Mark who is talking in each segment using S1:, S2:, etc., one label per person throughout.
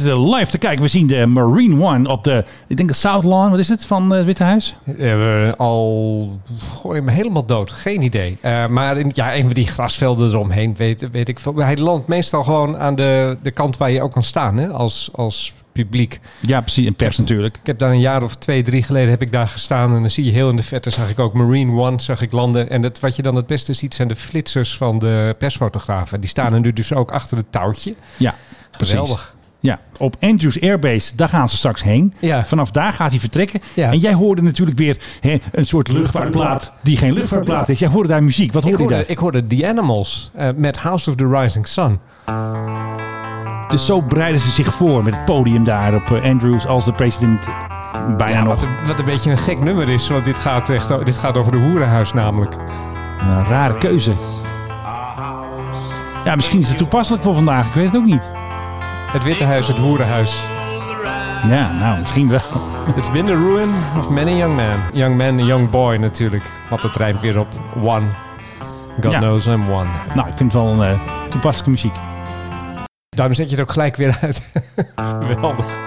S1: eh, live te kijken. We zien de Marine One op de, ik denk de South Lawn, wat is het, van eh, het Witte Huis?
S2: Ja, we al gooi me helemaal dood. Geen idee. Eh, maar in, ja, een van die grasvelden eromheen, weet, weet ik veel. Hij landt meestal gewoon aan de, de kant waar je ook kan staan hè, als, als publiek.
S1: Ja, precies, en pers natuurlijk.
S2: Ik heb daar een jaar of twee, drie geleden heb ik daar gestaan. En dan zie je heel in de verte, zag ik ook Marine One, zag ik landen. En het, wat je dan het beste ziet, zijn de flitsers van de persfotografen. Die staan er nu dus ook achter het touwtje.
S1: Ja, precies.
S2: Geweldig.
S1: Ja, op Andrews Airbase, daar gaan ze straks heen.
S2: Ja.
S1: Vanaf daar gaat hij vertrekken.
S2: Ja.
S1: En jij hoorde natuurlijk weer hè, een soort luchtvaartplaat die geen luchtvaartplaat is. Jij hoorde daar muziek. Wat
S2: Ik
S1: hoorde je daar?
S2: hoorde, ik hoorde The Animals eh, met House of the Rising Sun.
S1: Dus zo bereiden ze zich voor met het podium daar op eh, Andrews als de president bijna
S2: Ja,
S1: nog.
S2: wat, een, wat een beetje een gek nummer is, want dit gaat, echt, o- dit gaat over de hoerenhuis namelijk.
S1: Een rare keuze. Ja, misschien is het toepasselijk voor vandaag. Ik weet het ook niet.
S2: Het Witte Huis, het hoerenhuis.
S1: Ja, nou, misschien wel.
S2: It's been the ruin of many young men. Young man, young boy natuurlijk. Want het rijmt weer op one. God
S1: Ja.
S2: knows I'm one.
S1: Nou, ik vind het wel een eh, toepasselijke muziek.
S2: Daarom zet je het ook gelijk weer uit. Geweldig.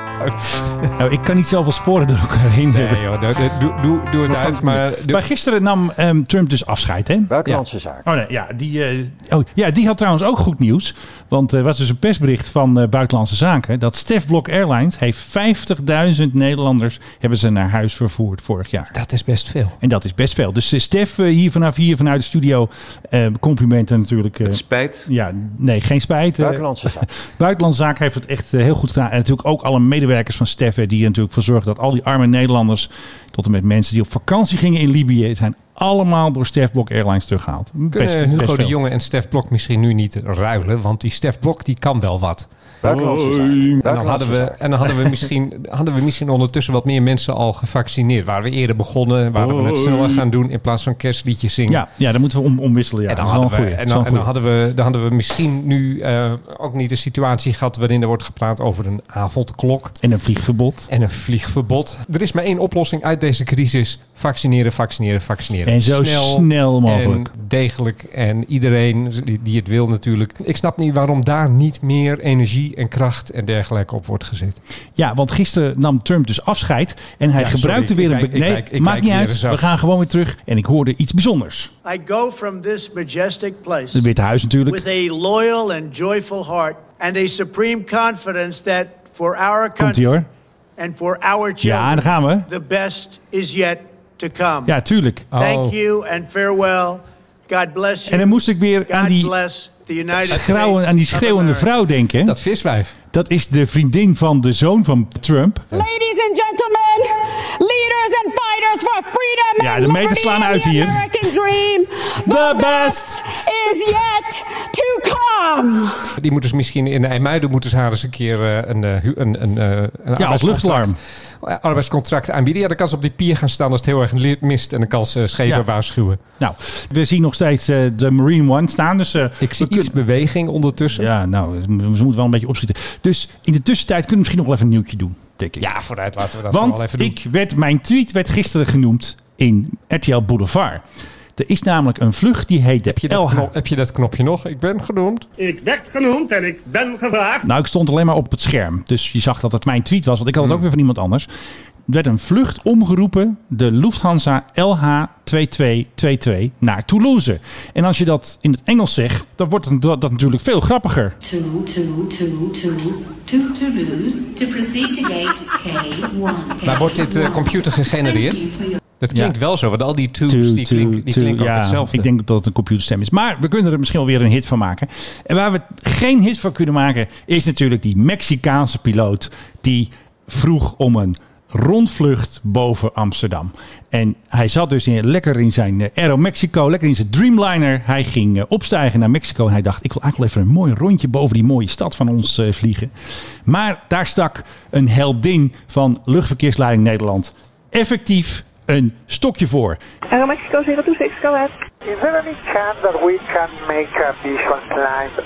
S1: Nou, ik kan niet zoveel sporen door elkaar heen hebben.
S2: Nee joh, doe, doe, doe, doe het uit. Maar, doe-
S1: Maar gisteren nam ehm, Trump dus afscheid, hè?
S3: Buitenlandse zaken.
S1: Oh nee, ja die, eh, oh, ja, die had trouwens ook goed nieuws. Want er was dus een persbericht van eh, Buitenlandse Zaken... dat Stef Blok Airlines heeft 50.000 Nederlanders... hebben ze naar huis vervoerd vorig jaar.
S2: dat is best veel.
S1: En dat is best veel. Dus eh, Stef, eh, hier vanaf hier, vanuit de studio, eh, complimenten natuurlijk. eh.
S4: Spijt.
S1: ja, nee, geen spijt. eh.
S3: Buitenlandse zaken.
S1: Buitenlandse Zaken heeft het echt eh, heel goed gedaan. En natuurlijk ook alle medewerkers van Stef, hè, die er natuurlijk voor zorgen dat al die arme Nederlanders, tot en met mensen die op vakantie gingen in Libië, zijn allemaal door Stef Blok Airlines teruggehaald. Best-
S2: Kunnen
S1: best
S2: Hugo de
S1: veel.
S2: Jonge en Stef Blok misschien nu niet ruilen? Want die Stef Blok die kan wel wat.
S3: Buitenlandse zaken.
S2: En dan, hadden
S3: Buitenlandse
S2: we,
S3: zaken.
S2: en dan hadden, we misschien, hadden we misschien ondertussen wat meer mensen al gevaccineerd. Waar we eerder begonnen, waar we het sneller gaan doen in plaats van kerstliedjes zingen.
S1: Ja, ja, daar moeten we om, omwisselen. Ja.
S2: En dan,
S1: dat is wel
S2: hadden
S1: een
S2: we,
S1: goeie.
S2: en
S1: Dat is wel
S2: dan,
S1: een
S2: en dan,
S1: goeie.
S2: hadden, we, dan hadden we misschien nu eh, ook niet de situatie gehad waarin er wordt gepraat over een avondklok
S1: En een vliegverbod.
S2: en een vliegverbod. Er is maar één oplossing uit deze crisis. Vaccineren, vaccineren, vaccineren.
S1: En zo snel mogelijk.
S2: En degelijk. En iedereen die, die het wil natuurlijk. Ik snap niet waarom daar niet meer energie en kracht en dergelijke op wordt gezet.
S1: Ja, want gisteren nam Trump dus afscheid. En hij
S2: Ja,
S1: gebruikte
S2: sorry,
S1: weer een...
S2: ik
S1: be-
S2: kijk- ik
S1: nee,
S2: kijk- ik
S1: maakt
S2: kijk
S1: niet
S2: weer
S1: uit.
S2: eens af.
S1: We gaan gewoon weer terug. En ik hoorde iets bijzonders.
S5: I go from this majestic place
S1: Het Witte Huis natuurlijk.
S5: with a loyal and joyful heart and a supreme confidence that for our
S1: Komt-ie
S5: country
S1: hoor.
S5: and for our
S1: Ja,
S5: children,
S1: daar gaan we.
S5: the best is yet to come.
S1: Ja, tuurlijk.
S2: Oh.
S5: Thank you and farewell. God bless you.
S1: En dan moest ik weer
S5: God
S1: aan die
S5: bless the United
S1: Schreeuwen,
S5: States
S1: aan die
S5: of
S1: schreeuwende
S5: America.
S1: vrouw denken.
S2: Dat viswijf.
S1: Dat is de vriendin van de zoon van Trump.
S6: Ladies and gentlemen, leaders and fighters for freedom
S1: Ja,
S6: and
S1: de meters
S6: liberty
S1: slaan
S6: and
S1: uit
S6: the
S1: hier.
S6: American dream.
S1: The best.
S6: best is yet to come.
S2: Die moeten ze misschien in IJmuiden moeten ze haar eens een keer eh, een, eh, hu- een, een, eh, een arbeidscontract-
S1: luchtalarm.
S2: eh, arbeidscontract aanbieden. Ja, dan kan ze op die pier gaan staan als het heel erg li- mist en dan kan ze schepen
S1: Ja.
S2: waarschuwen.
S1: Nou, we zien nog steeds eh, de Marine One staan. Dus, eh,
S2: Ik zie
S1: we
S2: iets
S1: kunnen-
S2: beweging ondertussen. Ja.
S1: Ja, nou, ze moeten wel een beetje opschieten. Dus in de tussentijd kunnen we misschien nog wel even een nieuwtje doen, denk ik.
S2: vooruit laten we dat wel even
S1: Want
S2: doen.
S1: ik werd, mijn tweet werd gisteren genoemd in RTL Boulevard. Er is namelijk een vlucht die heet de
S2: heb, je dat
S1: LH.
S2: knop- heb je dat knopje nog? Ik ben genoemd.
S7: Ik werd genoemd en ik ben gevraagd.
S1: Nou, ik stond alleen maar op het scherm. Dus je zag dat het mijn tweet was, want ik had het ook weer van iemand anders. Er werd een vlucht omgeroepen, de Lufthansa LH2222 naar Toulouse. En als je dat in het Engels zegt, dan wordt het- dat, dat natuurlijk veel grappiger.
S8: two, two, two, two, two to lose, to proceed to gate K1.
S2: Maar wordt dit eh, computer gegenereerd? Dat klinkt wel zo, want al die tubes
S1: Two,
S2: die,
S1: two,
S2: klink, die
S1: two.
S2: klinken ook
S1: Ja,
S2: hetzelfde.
S1: Ik denk dat het een computerstem is. Maar we kunnen er misschien wel weer een hit van maken. En waar we geen hit van kunnen maken, is natuurlijk die Mexicaanse piloot die vroeg om een rondvlucht boven Amsterdam. En hij zat dus in, lekker in zijn eh, Aero Mexico, lekker in zijn Dreamliner. Hij ging eh, opstijgen naar Mexico en hij dacht... ik wil eigenlijk wel even een mooi rondje boven die mooie stad van ons eh, vliegen. Maar daar stak een heldin van Luchtverkeersleiding Nederland... effectief een stokje voor.
S9: Mexico 026, go ahead.
S10: Is there any chance that we can make a vision flight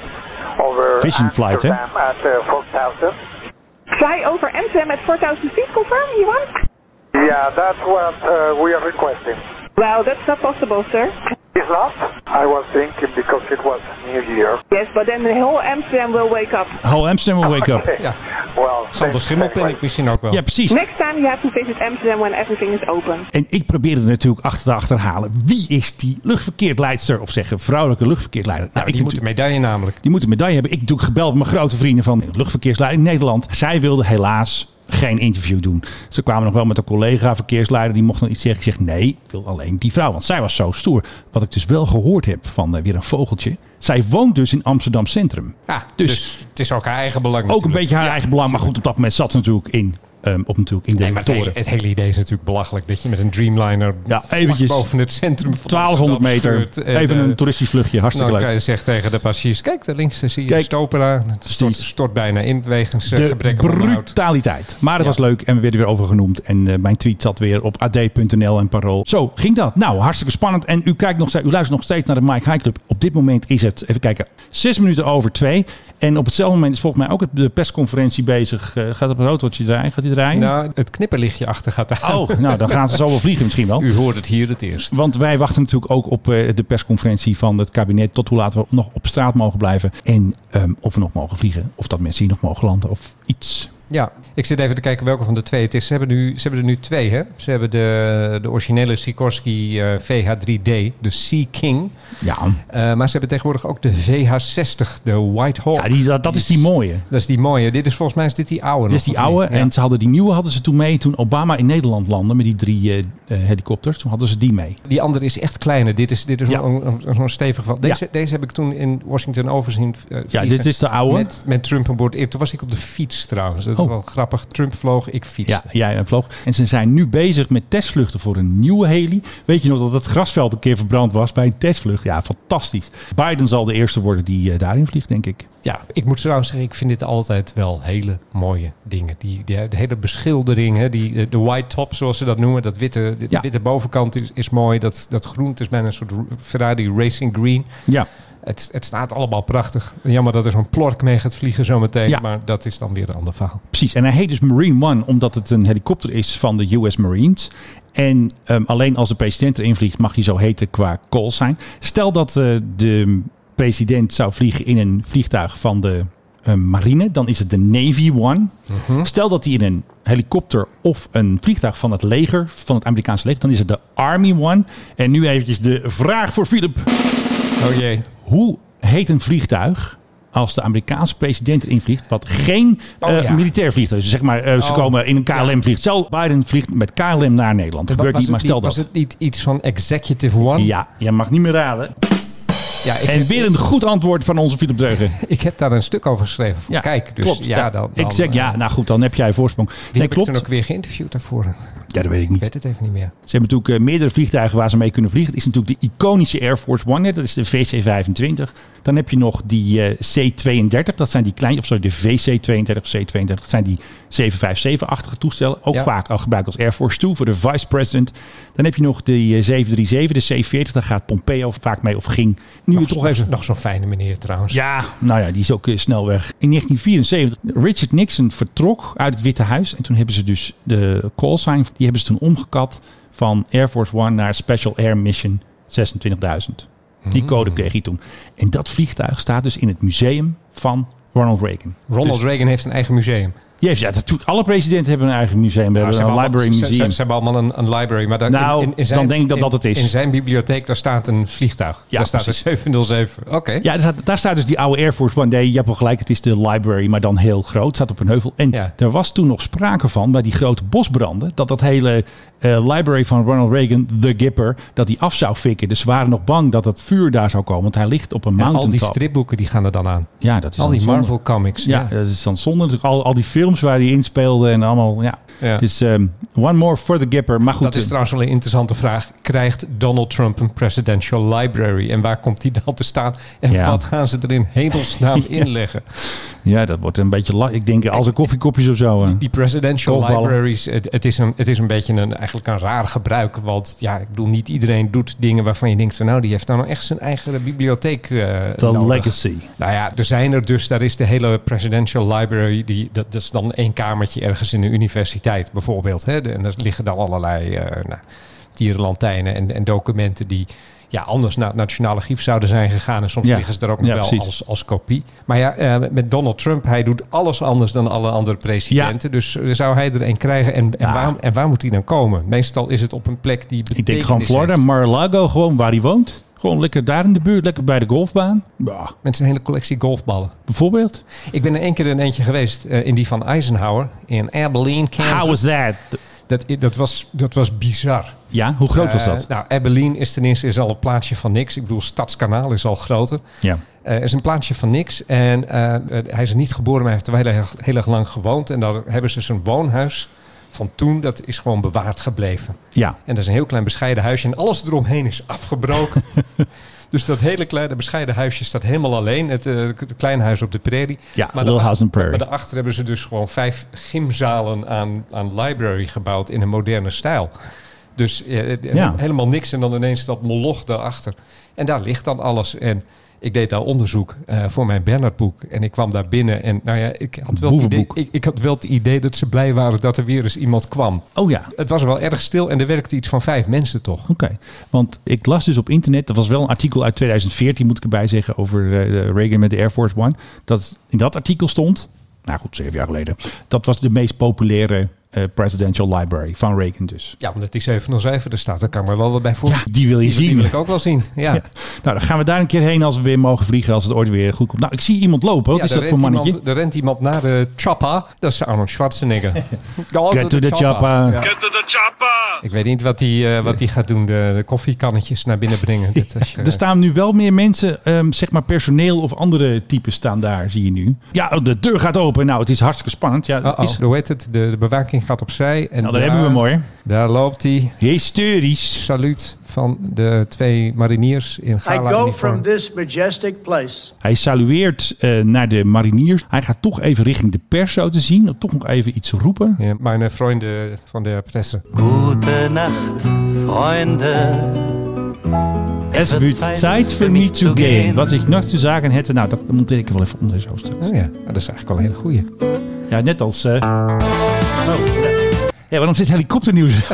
S10: over
S1: Vision flight, hè?
S10: Amsterdam at uh, 4000?
S9: Fly over Amsterdam at 4,000 feet, confirm, you want?
S10: Yeah, that's what uh, we are requesting.
S9: Well, that's not possible, sir.
S10: Is last? I was thinking because it was New Year.
S9: Yes, but then the whole Amsterdam will wake up.
S1: Whole Amsterdam will wake up.
S2: Ja.
S10: Well,
S2: Sander
S10: thanks
S2: Schimmel
S10: anyway.
S2: ken ik misschien ook wel.
S1: Ja, precies.
S9: Next time you have to visit Amsterdam when everything is open.
S1: En ik probeerde natuurlijk achter te achterhalen. Wie is die luchtverkeerdleidster? Of zeggen vrouwelijke luchtverkeerdleider? Nou, ik
S2: Die moet
S1: natuurlijk-
S2: een medaille namelijk.
S1: Die moeten een medaille hebben. Ik heb natuurlijk gebeld met mijn grote vrienden van luchtverkeersleiding Nederland. Zij wilden helaas geen interview doen. Ze kwamen nog wel met een collega verkeersleider. Die mocht dan iets zeggen. Ik zeg nee, ik wil alleen die vrouw. Want zij was zo stoer. Wat ik dus wel gehoord heb van eh, weer een vogeltje. Zij woont dus in Amsterdam Centrum.
S2: Ja,
S1: Dus-
S2: dus, het is ook haar eigen belang.
S1: Ook een
S2: natuurlijk.
S1: beetje haar eigen belang. Maar goed, op dat moment zat ze natuurlijk in, ehm, op, natuurlijk in de
S2: Nee, maar het, hele,
S1: toren.
S2: het hele idee is natuurlijk belachelijk. Dat je met een Dreamliner
S1: Ja,
S2: vlak
S1: eventjes
S2: boven het centrum van
S1: 1200
S2: Amsterdam
S1: meter.
S2: scheurt en,
S1: Even
S2: eh,
S1: een toeristisch vluchtje. Hartstikke
S2: Nou,
S1: leuk.
S2: dan zegt tegen de passagiers, kijk daar links, daar zie je
S1: Kijk.
S2: de Stopera. Het stort,
S1: Precies.
S2: stort bijna in wegens eh,
S1: De
S2: gebrek aan onderhoud.
S1: brutaliteit. Maar het
S2: Ja.
S1: was leuk en we werden weer overgenoemd. En eh, mijn tweet zat weer op ad.nl en parool. Zo ging dat. Nou, hartstikke spannend. En u, kijkt nog, ste- u luistert nog steeds naar de Mike High Club. Op dit moment is het, even kijken, zes minuten over twee. En op hetzelfde moment is volgens mij ook het- de persconferentie bezig. Eh, gaat dat rotortje draaien? Gaat die draaien?
S2: Nou, het knipperlichtje achter gaat aan.
S1: Oh, nou, dan gaan ze zo wel vliegen misschien wel.
S2: U hoort het hier het eerst.
S1: Want wij wachten natuurlijk ook op eh, de persconferentie van het kabinet. Tot hoe laat we nog op straat mogen blijven. En ehm, of we nog mogen vliegen. Of dat mensen hier nog mogen landen of iets.
S2: Ja, ik zit even te kijken welke van de twee het is. Ze hebben, nu, ze hebben er nu twee, hè? Ze hebben de, de originele Sikorsky eh, VH3D, de Sea King.
S1: Ja,
S2: Eh, maar ze hebben tegenwoordig ook de VH60, de White Hawk.
S1: ja die, dat, dat is die mooie.
S2: Dat is die mooie. Dit is volgens mij is dit die oude.
S1: Dit
S2: nog,
S1: is die
S2: of niet?
S1: oude.
S2: Ja.
S1: En ze hadden die nieuwe hadden ze toen mee. Toen Obama in Nederland landde met die drie eh, eh, helikopters. Toen hadden ze die mee.
S2: Die andere is echt kleiner. Dit is, dit is
S1: Ja.
S2: zo'n een, zo'n stevig van. Deze, deze heb ik toen in Washington overzien. eh,
S1: Ja,
S2: vliegen.
S1: dit is de oude.
S2: Met, met Trump aan boord. Eh, Toen was ik op de fiets trouwens. Dat is
S1: Oh.
S2: wel grappig. Trump vloog, ik fiets.
S1: Ja, jij eh, vloog. En ze zijn nu bezig met testvluchten voor een nieuwe heli. Weet je nog dat het grasveld een keer verbrand was bij een testvlucht? Ja, fantastisch. Biden zal de eerste worden die eh, daarin vliegt, denk ik.
S2: ik moet trouwens zeggen, ik vind dit altijd wel hele mooie dingen. Die, die, de hele beschildering, hè, die, de- de white top zoals ze dat noemen. Dat witte, de,
S1: Ja.
S2: witte bovenkant is, is mooi. Dat, dat groen, het is bijna een soort Ferrari Racing Green.
S1: Ja,
S2: Het, het staat allemaal prachtig. Jammer dat er zo'n plork mee gaat vliegen zometeen.
S1: Ja.
S2: Maar dat is dan weer een ander verhaal.
S1: precies. En hij heet dus Marine One omdat het een helikopter is van de US Marines. En ehm, alleen als de president erin vliegt mag hij zo heten qua call zijn. Stel dat eh, de president zou vliegen in een vliegtuig van de eh, marine, dan is het de Navy One. Stel dat hij in een helikopter of een vliegtuig van het leger, van het Amerikaanse leger, dan is het de Army One. En nu eventjes de vraag voor Philip.
S2: Oh jee.
S1: Hoe heet een vliegtuig als de Amerikaanse president erin vliegt, wat geen
S2: Oh,
S1: eh,
S2: ja.
S1: militair vliegtuig is? Zeg maar, eh, ze
S2: Oh,
S1: komen in een KLM vliegt. Stel, Biden vliegt met KLM naar Nederland. Dat gebeurt
S2: Was
S1: niet, maar
S2: het
S1: stel
S2: Was
S1: dat.
S2: het niet iets van Executive One?
S1: Ja, je mag niet meer raden.
S2: Ja, ik,
S1: En
S2: heb,
S1: weer een goed antwoord van onze Philip Dreugen.
S2: ik heb daar een stuk over geschreven. Voor
S1: Ja,
S2: Kijk, dus
S1: klopt.
S2: ja, dan... dan,
S1: ik zeg,
S2: eh,
S1: ja, nou goed, dan heb jij voorsprong.
S2: Wie
S1: Nee,
S2: heb ik toen
S1: klopt.
S2: ook weer geïnterviewd daarvoor? Ik
S1: Ja, dat weet ik niet.
S2: weet het even niet meer.
S1: Ze hebben natuurlijk eh, meerdere vliegtuigen waar ze mee kunnen vliegen. Het is natuurlijk de iconische Air Force One. hè. Dat is de VC-25. Dan heb je nog die eh, C-32. Dat zijn die kleine, of sorry, de VC-32 of C-32. Dat zijn die 757-achtige toestellen. Ook
S2: Ja.
S1: vaak al gebruikt als Air Force 2 voor de vice president. Dan heb je nog de eh, 737, de C-40. Daar gaat Pompeo vaak mee of ging. Nu we
S2: Nog,
S1: toch even...
S2: nog zo'n fijne meneer trouwens.
S1: Ja, nou ja, die is ook eh, snel weg. In 1974, Richard Nixon vertrok uit het Witte Huis. En toen hebben ze dus de call sign, die hebben ze toen omgekat van Air Force One naar Special Air Mission 26.000. Die
S2: Hmm.
S1: code kreeg hij toen. En dat vliegtuig staat dus in het museum van Ronald Reagan.
S2: Ronald
S1: Dus-
S2: Reagan heeft een eigen museum.
S1: Yes, ja, dat doet, alle presidenten hebben een eigen museum. We
S2: Nou,
S1: hebben een
S2: allemaal-
S1: library
S2: ze- ze-
S1: museum.
S2: Ze, hebben allemaal een, een library. Maar daar,
S1: Nou, dan denk ik dat
S2: in-
S1: dat het is.
S2: In zijn bibliotheek, daar staat een vliegtuig.
S1: Ja,
S2: daar staat
S1: precies.
S2: een 707. Oké.
S1: Ja, daar staat, daar staat dus die oude Air Force One. Nee, je hebt wel gelijk. Het is de library, maar dan heel groot. Staat op een heuvel. En
S2: Ja.
S1: er was toen nog sprake van, bij die grote bosbranden... dat dat hele eh, library van Ronald Reagan, The Gipper... dat die af zou fikken. Dus ze waren nog bang dat dat vuur daar zou komen. Want hij ligt op een
S2: En al die
S1: mountaintop.
S2: stripboeken die gaan er dan aan.
S1: ja, dat is
S2: Al
S1: dan
S2: die
S1: zonde.
S2: Marvel comics.
S1: Ja, dat is dan zonde. Natuurlijk al, al die films waar hij in speelde en allemaal... Ja.
S2: Ja.
S1: Dus ehm, one more for The Gipper. Maar goed,
S2: Dat is
S1: eh,
S2: trouwens wel een interessante vraag. Krijgt Donald Trump een presidential library? En waar komt die dan te staan? En
S1: Ja.
S2: wat gaan ze er in hemelsnaam inleggen?
S1: ja, dat wordt een beetje... la- Ik denk als een koffiekopjes of zo. eh.
S2: Die presidential
S1: Kookballen.
S2: libraries, het, het, is een, het is een beetje een, eigenlijk een raar gebruik. Want ja, ik bedoel, niet iedereen doet dingen waarvan je denkt... van, nou, die heeft nou echt zijn eigen bibliotheek eh
S1: The
S2: nodig.
S1: Legacy.
S2: Nou ja, er zijn er dus. Daar is de hele presidential library. Die, dat, dat is dan één kamertje ergens in de universiteit bijvoorbeeld. Hè? De- en daar liggen dan allerlei eh nou, dierenlantijnen en, en documenten die... ja, anders naar het Nationale Gief zouden zijn gegaan. En soms
S1: Ja.
S2: liggen ze er ook nog
S1: Ja,
S2: wel
S1: precies.
S2: als, als kopie. Maar ja, eh, met Donald Trump, hij doet alles anders dan alle andere presidenten. Dus eh, zou hij er een krijgen? En, en,
S1: Ja.
S2: waarom, en waar moet hij dan komen? Meestal is het op een plek die
S1: Ik denk
S2: betekenis
S1: gewoon Florida,
S2: heeft.
S1: Mar-a-Lago, gewoon waar hij woont. Gewoon lekker daar in de buurt, lekker bij de golfbaan. Ja,
S2: Met zijn hele collectie golfballen.
S1: bijvoorbeeld.
S2: Ik ben er één keer in eentje geweest, eh, in die van Eisenhower, in Abilene, Kansas.
S1: How was that?
S2: Dat, i- dat, was, dat was bizar.
S1: Ja, hoe groot was
S2: Eh,
S1: dat?
S2: nou, Abilene is ten eerste is al een plaatsje van niks. Ik bedoel, Stadskanaal is al groter.
S1: Ja.
S2: Eh, is een plaatsje van niks. En eh, eh, hij is er niet geboren, maar hij heeft er wel heel, erg- heel erg lang gewoond. En daar hebben ze zijn woonhuis van toen, dat is gewoon bewaard gebleven.
S1: Ja.
S2: En dat is een heel klein bescheiden huisje. En alles eromheen is afgebroken. dus dat hele kleine bescheiden huisje staat helemaal alleen. Het, eh, het kleine huis op de prairie.
S1: Ja, Little
S2: daarachter-
S1: House on the Prairie.
S2: Maar daarachter hebben ze dus gewoon vijf gymzalen aan, aan library gebouwd in een moderne stijl. Dus eh, eh,
S1: Ja.
S2: helemaal niks en dan ineens dat moloch daarachter. En daar ligt dan alles. En ik deed daar onderzoek eh, voor mijn Bernardboek. En ik kwam daar binnen en nou ja, ik had, wel het idee,
S1: Boevenboek.
S2: ik, ik had wel het idee dat ze blij waren dat er weer eens iemand kwam.
S1: Oh ja.
S2: Het was wel erg stil en er werkte iets van vijf mensen toch?
S1: Oké, want ik las dus op internet, dat was wel een artikel uit 2014, moet ik erbij zeggen, over eh, Reagan met de Air Force One. Dat in dat artikel stond, nou goed, zeven jaar geleden, dat was de meest populaire eh, presidential library van Reagan dus.
S2: Ja, omdat die 707 er staat, daar kan ik me wel wat bij
S1: Ja,
S2: voorstellen.
S1: die wil je
S2: Die,
S1: zien.
S2: wil ik ook wel zien. Ja,
S1: Ja.
S2: ja.
S1: Nou, dan gaan we daar een keer heen als we weer mogen vliegen, als het ooit weer goed komt. Nou, ik zie iemand lopen. Wat is
S2: daar
S1: dat voor
S2: rent
S1: mannetje?
S2: iemand- daar rent iemand naar de choppa. Dat is Arnold Schwarzenegger. Go
S1: Get to the choppa.
S2: Ja. Ik weet niet wat hij eh, wat die gaat doen. De, de koffiekannetjes naar binnen brengen. eh, Dit, als je-
S1: Er staan nu wel meer mensen, ehm, zeg maar personeel of andere types staan daar, zie je nu. Ja, oh, de deur gaat open. Nou, het is hartstikke spannend. Ja,
S2: Oh, oh.
S1: is, nou,
S2: Hoe heet het? De, de bewaking gaat opzij. En
S1: dat
S2: daar-
S1: hebben we mooi.
S2: Daar loopt hij.
S1: Hysterisch.
S2: Saluut van de twee mariniers in
S5: I
S2: gala
S5: go from this majestic place
S1: Hij salueert eh, naar de mariniers. Hij gaat toch even richting de pers zo te zien. Om toch nog even iets te roepen.
S2: ja, Mijn eh, vrienden van de presse.
S3: Gute Nacht, Freunde.
S1: Es wird Zeit für me zu gehen. Was ik nog te zagen hätte. Nou, dat monteer ik er wel even onder zo straks.
S2: Oh ja, dat is eigenlijk wel een hele goeie.
S1: Ja, net als... eh, Oh, ja, waarom zit helikopternieuws?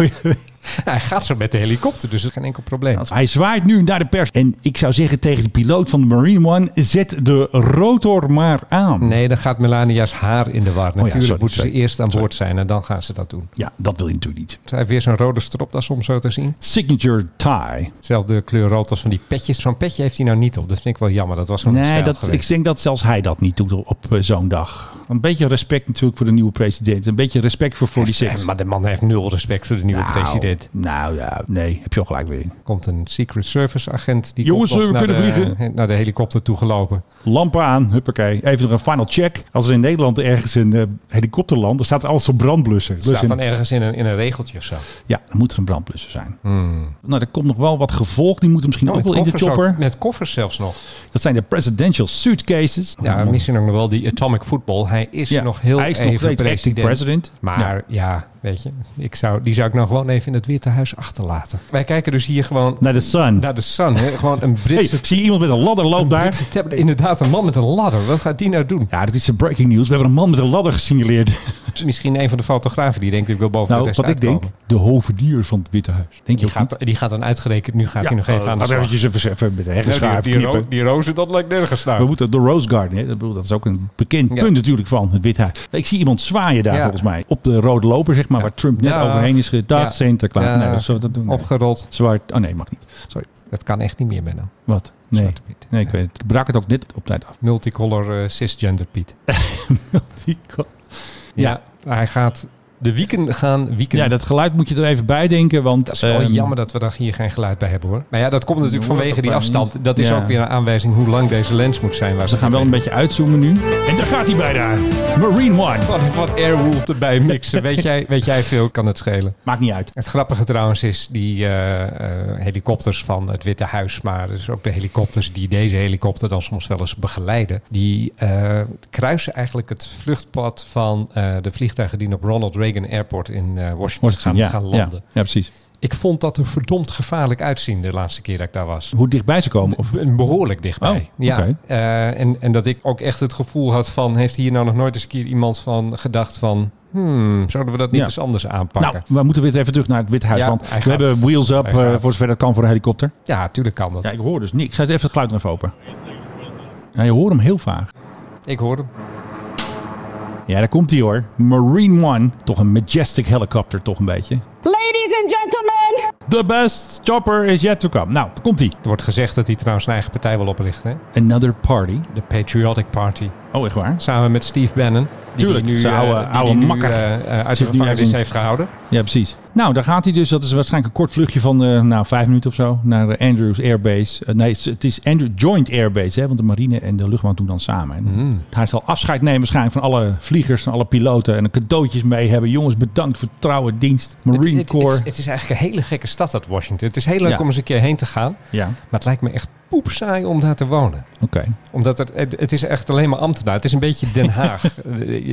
S2: Hij gaat zo met de helikopter, dus er is geen enkel probleem.
S1: Hij zwaait nu naar de pers. En ik zou zeggen tegen de piloot van de Marine One... Zet de rotor maar aan.
S2: Nee, dan gaat Melania's haar in de war. Natuurlijk
S1: Oh sorry,
S2: moeten ze
S1: sorry.
S2: eerst aan boord zijn en dan gaan ze dat doen.
S1: Ja, dat wil je natuurlijk niet.
S2: Ze heeft weer zo'n rode stropdas om zo te zien.
S1: Signature tie.
S2: Zelfde kleur rood als van die petjes. Zo'n petje heeft hij nou niet op. Dat vind ik wel jammer. Dat was gewoon een
S1: Nee,
S2: stijl
S1: dat,
S2: geweest.
S1: ik denk dat zelfs hij dat niet doet op eh, zo'n dag. Een beetje respect natuurlijk voor de nieuwe president. Een beetje respect voor 46.
S2: Eh, maar de man heeft nul respect voor de nieuwe
S1: Nou,
S2: president.
S1: Nou ja, nee, heb je al gelijk weer in.
S2: Komt een Secret Service agent. Die
S1: Jongens,
S2: komt nog
S1: we
S2: naar
S1: kunnen
S2: de, Naar de helikopter toegelopen.
S1: Lampen aan, huppakee. Even nog een final check. Als er in Nederland ergens een eh, helikopter landt, dan staat er alles op brandblusser.
S2: Het staat
S1: Dus
S2: dan
S1: een-
S2: ergens in een, in een regeltje of zo.
S1: ja, dan moet er een brandblusser zijn. Nou, er komt nog wel wat gevolg. Die moeten misschien
S2: Hmm. Oh,
S1: ook
S2: met
S1: wel in de
S2: koffers ook.
S1: chopper.
S2: met koffers zelfs nog.
S1: Dat zijn de presidential suitcases.
S2: Ja, misschien ook nog wel die atomic football. Hij is
S1: Nou, Ja,
S2: nog heel
S1: hij is nog
S2: even
S1: steeds acting
S2: president.
S1: president.
S2: Maar ja, weet je, ik zou, die zou ik nou gewoon even in het Witte Huis achterlaten. Wij kijken dus hier gewoon
S1: Naar de sun.
S2: naar de Sun. Hè? Gewoon een
S1: Nou. Hey,
S2: Britse,
S1: ik zie iemand met een ladder loopt daar.
S2: Britse tablet. Inderdaad, een man met een ladder. Wat gaat die nou doen?
S1: Ja, dat is een breaking news. We hebben een man met een ladder gesignaleerd.
S2: Misschien een van de fotografen die denkt, ik wil boven de
S1: Nou,
S2: rest
S1: wat ik denk,
S2: uitkomen.
S1: de hovenier van het Witte Huis. Denk je
S2: Die
S1: ook niet?
S2: gaat, die gaat dan uitgerekend, nu gaat
S1: Ja,
S2: hij nog even
S1: eh,
S2: aan de
S1: laten we
S2: slag.
S1: eventjes even, even met de
S2: Ja,
S1: heggenschaar
S2: die, die, ro-
S1: knippen.
S2: die rozen, dat lijkt nergens
S1: We
S2: naar.
S1: moeten de Rose Garden, hè? Ik bedoel, dat is ook een bekend
S2: Ja.
S1: punt natuurlijk van het Witte Huis. Ik zie iemand zwaaien daar
S2: Ja.
S1: volgens mij. Op de rode loper, zeg maar, waar Trump net
S2: Ja.
S1: overheen is gedaagd.
S2: Ja.
S1: Sinterklaas.
S2: Ja.
S1: Nee, dat zullen we dat doen. Nee.
S2: Opgerold.
S1: Zwart. Oh nee, mag niet. Sorry.
S2: Dat kan echt niet meer, Benno.
S1: Wat? Nee.
S2: Zwarte Piet.
S1: Nee, ik weet het. Ik brak het ook net op tijd af.
S2: Multicolor eh, cisgender Piet.
S1: Die ko-
S2: Ja, hij gaat de wieken gaan wieken.
S1: Ja, dat geluid moet je er even bij denken, want...
S2: Dat is wel
S1: ehm,
S2: jammer dat we daar hier geen geluid bij hebben hoor. Maar Nou ja, dat komt natuurlijk
S1: Hoort
S2: vanwege
S1: ook
S2: die
S1: maar
S2: afstand.
S1: niet.
S2: Dat is
S1: Ja.
S2: ook weer een aanwijzing hoe lang deze lens moet zijn. Waar
S1: Ze gaan wel een beetje uitzoomen nu. En daar gaat hij bijna. Marine One.
S2: wat, wat Airwolf erbij mixen. Weet jij, weet jij veel, kan het schelen.
S1: Maakt niet uit.
S2: Het grappige trouwens is die eh, eh, helikopters van het Witte Huis, maar dus ook de helikopters die deze helikopter dan soms wel eens begeleiden, die eh, kruisen eigenlijk het vluchtpad van eh, de vliegtuigen die op Ronald Reagan Airport in eh, Washington,
S1: Washington,
S2: gaan,
S1: ja,
S2: gaan
S1: ja,
S2: landen.
S1: ja, precies.
S2: Ik vond dat er verdomd gevaarlijk uitzien de laatste keer dat ik daar was.
S1: Hoe dichtbij ze komen? Of?
S2: Be- Behoorlijk dichtbij.
S1: Oh,
S2: ja.
S1: oké.
S2: Eh, en, en dat ik ook echt het gevoel had van... heeft hier nou nog nooit eens een keer iemand van gedacht van... Hmm, zouden we dat niet
S1: Ja.
S2: eens anders aanpakken?
S1: Nou, we moeten weer even terug naar het Witte Huis.
S2: Ja,
S1: want we
S2: hij gaat.
S1: hebben wheels up,
S2: Hij
S1: eh,
S2: gaat.
S1: voor zover dat kan, voor een helikopter.
S2: ja, tuurlijk kan dat.
S1: Ja, ik hoor dus niet. Ik ga even het geluid nog even open. Ja, je hoort hem heel vaag.
S2: Ik hoor hem.
S1: Ja, daar komt hij hoor. Marine One. Toch een majestic helicopter, toch een beetje.
S6: Ladies and gentlemen,
S1: The best chopper is yet to come. Nou, daar komt hij.
S2: Er wordt gezegd dat hij trouwens zijn eigen partij wil oplichten. Hè?
S1: Another party.
S2: De Patriotic Party.
S1: Oh, echt waar?
S2: Samen met Steve Bannon. Die
S1: Tuurlijk,
S2: die nu,
S1: zijn
S2: eh,
S1: oude-
S2: die
S1: oude
S2: die nu,
S1: makker.
S2: eh, eh, uit de
S1: Zit nu
S2: gevangenis
S1: ergens in-
S2: heeft gehouden.
S1: Ja, precies. Nou, daar gaat hij dus. Dat is waarschijnlijk een kort vluchtje van eh, nou, vijf minuten of zo naar eh, Andrews Airbase. Eh, nee, het is- het is Andrews Joint Airbase, hè, want de marine en de luchtmacht doen dan samen. En
S2: Mm.
S1: Hij zal afscheid nemen waarschijnlijk van alle vliegers en alle piloten en een cadeautjes mee hebben. Jongens, bedankt voor trouwe dienst. Marine
S2: het, het,
S1: Corps.
S2: is, het is eigenlijk een hele gekke stad, dat Washington. Het is heel leuk
S1: Ja.
S2: om eens een keer heen te gaan.
S1: ja,
S2: Maar het lijkt me echt poepsaai om daar te wonen.
S1: oké.
S2: Omdat het, het, het is echt alleen maar ambtenaar. Het is een beetje Den Haag.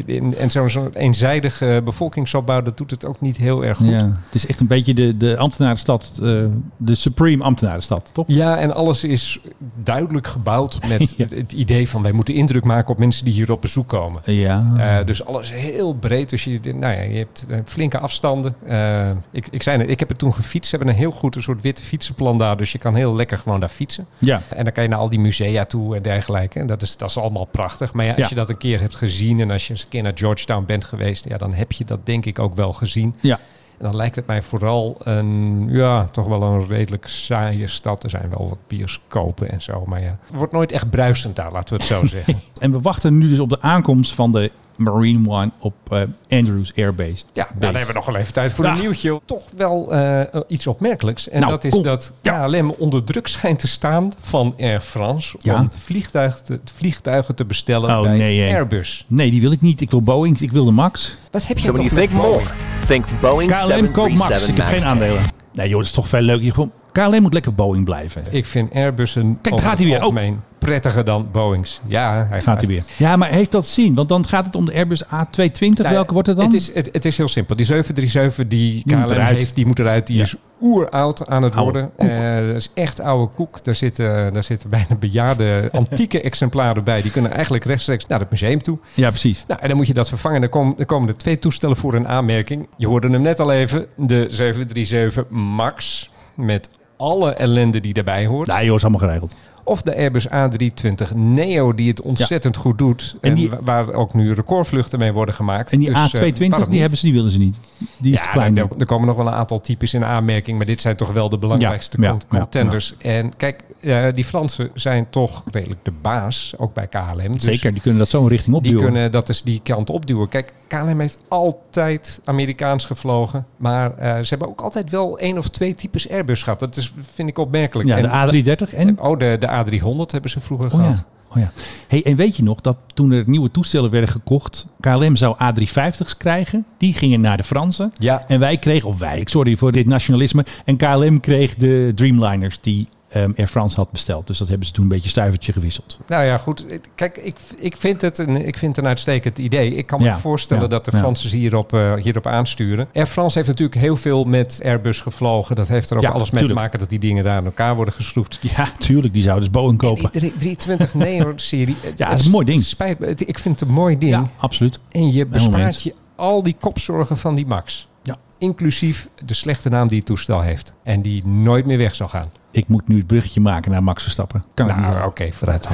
S2: en en zo'n zo'n eenzijdige bevolkingsopbouw, dat doet het ook niet heel erg goed.
S1: Ja,
S2: Ja.
S1: het is echt een beetje de, de ambtenarenstad, eh, de supreme ambtenarenstad, toch?
S2: en alles is duidelijk gebouwd met
S1: Ja.
S2: het, het idee van wij moeten indruk maken op mensen die hier op bezoek komen.
S1: Ja.
S2: Eh, dus alles heel breed. Dus je, nou ja, je hebt eh, flinke afstanden. Eh, ik, ik zei net, ik heb het toen gefietst. Ze hebben een heel goed een soort witte fietsenplan daar. Dus je kan heel lekker gewoon daar fietsen.
S1: ja.
S2: En dan kan je naar al die musea toe en dergelijke. En dat is, dat is allemaal prachtig. Maar ja, als
S1: Ja.
S2: je dat een keer hebt gezien en als je eens een keer naar Georgetown bent geweest, ja, dan heb je dat denk ik ook wel gezien.
S1: Ja.
S2: En dan lijkt het mij vooral een, ja, toch wel een redelijk saaie stad. Er zijn wel wat bioscopen en zo. Maar ja, het wordt nooit echt bruisend daar, laten we het zo zeggen.
S1: En we wachten nu dus op de aankomst van de Marine One op eh, Andrews Airbase.
S2: Ja, nou, dan hebben we nog wel even tijd voor
S1: Ja.
S2: een nieuwtje. Toch wel eh, iets opmerkelijks. En
S1: Nou,
S2: dat is
S1: kom.
S2: dat
S1: Ja.
S2: KLM onder druk schijnt te staan van Air France...
S1: Ja.
S2: om vliegtuig te- vliegtuigen te bestellen
S1: Oh,
S2: bij
S1: nee, hè.
S2: Airbus.
S1: Nee, die wil ik niet. Ik wil Boeing. Ik wil de Max.
S2: Wat heb je
S4: So when
S2: toch
S4: you
S2: met
S4: think more,
S2: Boeing?
S4: think Boeing
S1: KLM koopt Max.
S4: 737
S1: Ik heb
S4: MAX
S1: geen
S4: 10.
S1: aandelen. Nee joh, dat is toch veel leuker. Je gewoon- KLM moet lekker Boeing blijven.
S2: Ik vind Airbus een
S1: daar
S2: over
S1: gaat
S2: het
S1: hij weer. Oh.
S2: algemeen prettiger dan Boeings. Ja, hij
S1: Gaat hij weer. Ja, maar heeft dat zin? Want dan gaat het om de Airbus A220.
S2: Nou,
S1: Welke wordt het dan?
S2: Het is, het, het is heel simpel. Die 737 die
S1: Die moet
S2: KLM
S1: eruit.
S2: heeft, die moet eruit. Die
S1: Ja.
S2: is oeroud aan het
S1: Oude
S2: worden. Eh, dat is echt oude koek. Daar zitten, daar zitten bijna bejaarde antieke exemplaren bij. Die kunnen eigenlijk rechtstreeks naar het museum toe.
S1: Ja, precies.
S2: Nou, en dan moet je dat vervangen. Dan, kom, dan komen er twee toestellen voor een aanmerking. Je hoorde hem net al even. De 737 MAX met alle ellende die daarbij hoort.
S1: Nee joh, is allemaal geregeld.
S2: Of de Airbus A320 Neo, die het ontzettend goed doet. En,
S1: En die-
S2: wa- waar ook nu recordvluchten mee worden gemaakt.
S1: En die
S2: Dus, eh, waarom
S1: A220,
S2: niet?
S1: die, hebben ze, die willen ze niet. Die is te
S2: Ja,
S1: klein. Dus-
S2: er, er komen nog wel een aantal types in aanmerking. Maar dit zijn toch wel de belangrijkste
S1: Ja, ja,
S2: cont-
S1: ja,
S2: contenders. En kijk, eh, die Fransen zijn toch redelijk de baas, ook bij KLM. Dus
S1: Zeker, die kunnen dat zo'n richting
S2: Die
S1: opduwen.
S2: kunnen dat eens die kant opduwen. Kijk, KLM heeft altijd Amerikaans gevlogen. Maar eh, ze hebben ook altijd wel één of twee types Airbus gehad. Dat is, vind ik opmerkelijk. En-
S1: ja, de A330 en...
S2: oh, de, de A300 hebben ze vroeger
S1: Oh
S2: gehad.
S1: ja. Oh ja. Hey, en weet je nog dat toen er nieuwe toestellen werden gekocht, KLM zou A350's krijgen. Die gingen naar de Fransen.
S2: Ja.
S1: En wij kregen, of wij, sorry voor dit nationalisme. En KLM kreeg de Dreamliners die ehm, Air France had besteld. Dus dat hebben ze toen een beetje stuivertje gewisseld.
S2: Nou ja, goed. Kijk, ik, ik, vind het een, ik vind het een uitstekend idee. Ik kan me
S1: Ja,
S2: voorstellen
S1: ja,
S2: dat de
S1: ja.
S2: Fransen hierop, eh, hierop aansturen. Air France heeft natuurlijk heel veel met Airbus gevlogen. Dat heeft er ook
S1: Ja,
S2: alles mee
S1: tuurlijk.
S2: te maken dat die dingen daar aan elkaar worden geschroefd.
S1: Ja, tuurlijk. Die zouden dus Boeing kopen.
S2: Die 320 Neo-serie. eh,
S1: Ja, dat is een mooi ding.
S2: Spijt me, het- ik vind het een mooi ding.
S1: Ja, absoluut.
S2: En je
S1: Helemaal
S2: bespaart
S1: eens.
S2: je al die kopzorgen van die Max.
S1: Ja.
S2: Inclusief de slechte naam die het toestel heeft. En die nooit meer weg zal gaan.
S1: Ik moet nu het bruggetje maken naar Max Verstappen. Kan ik niet.
S2: Nou, oké,
S1: helpen.
S2: vooruit dan.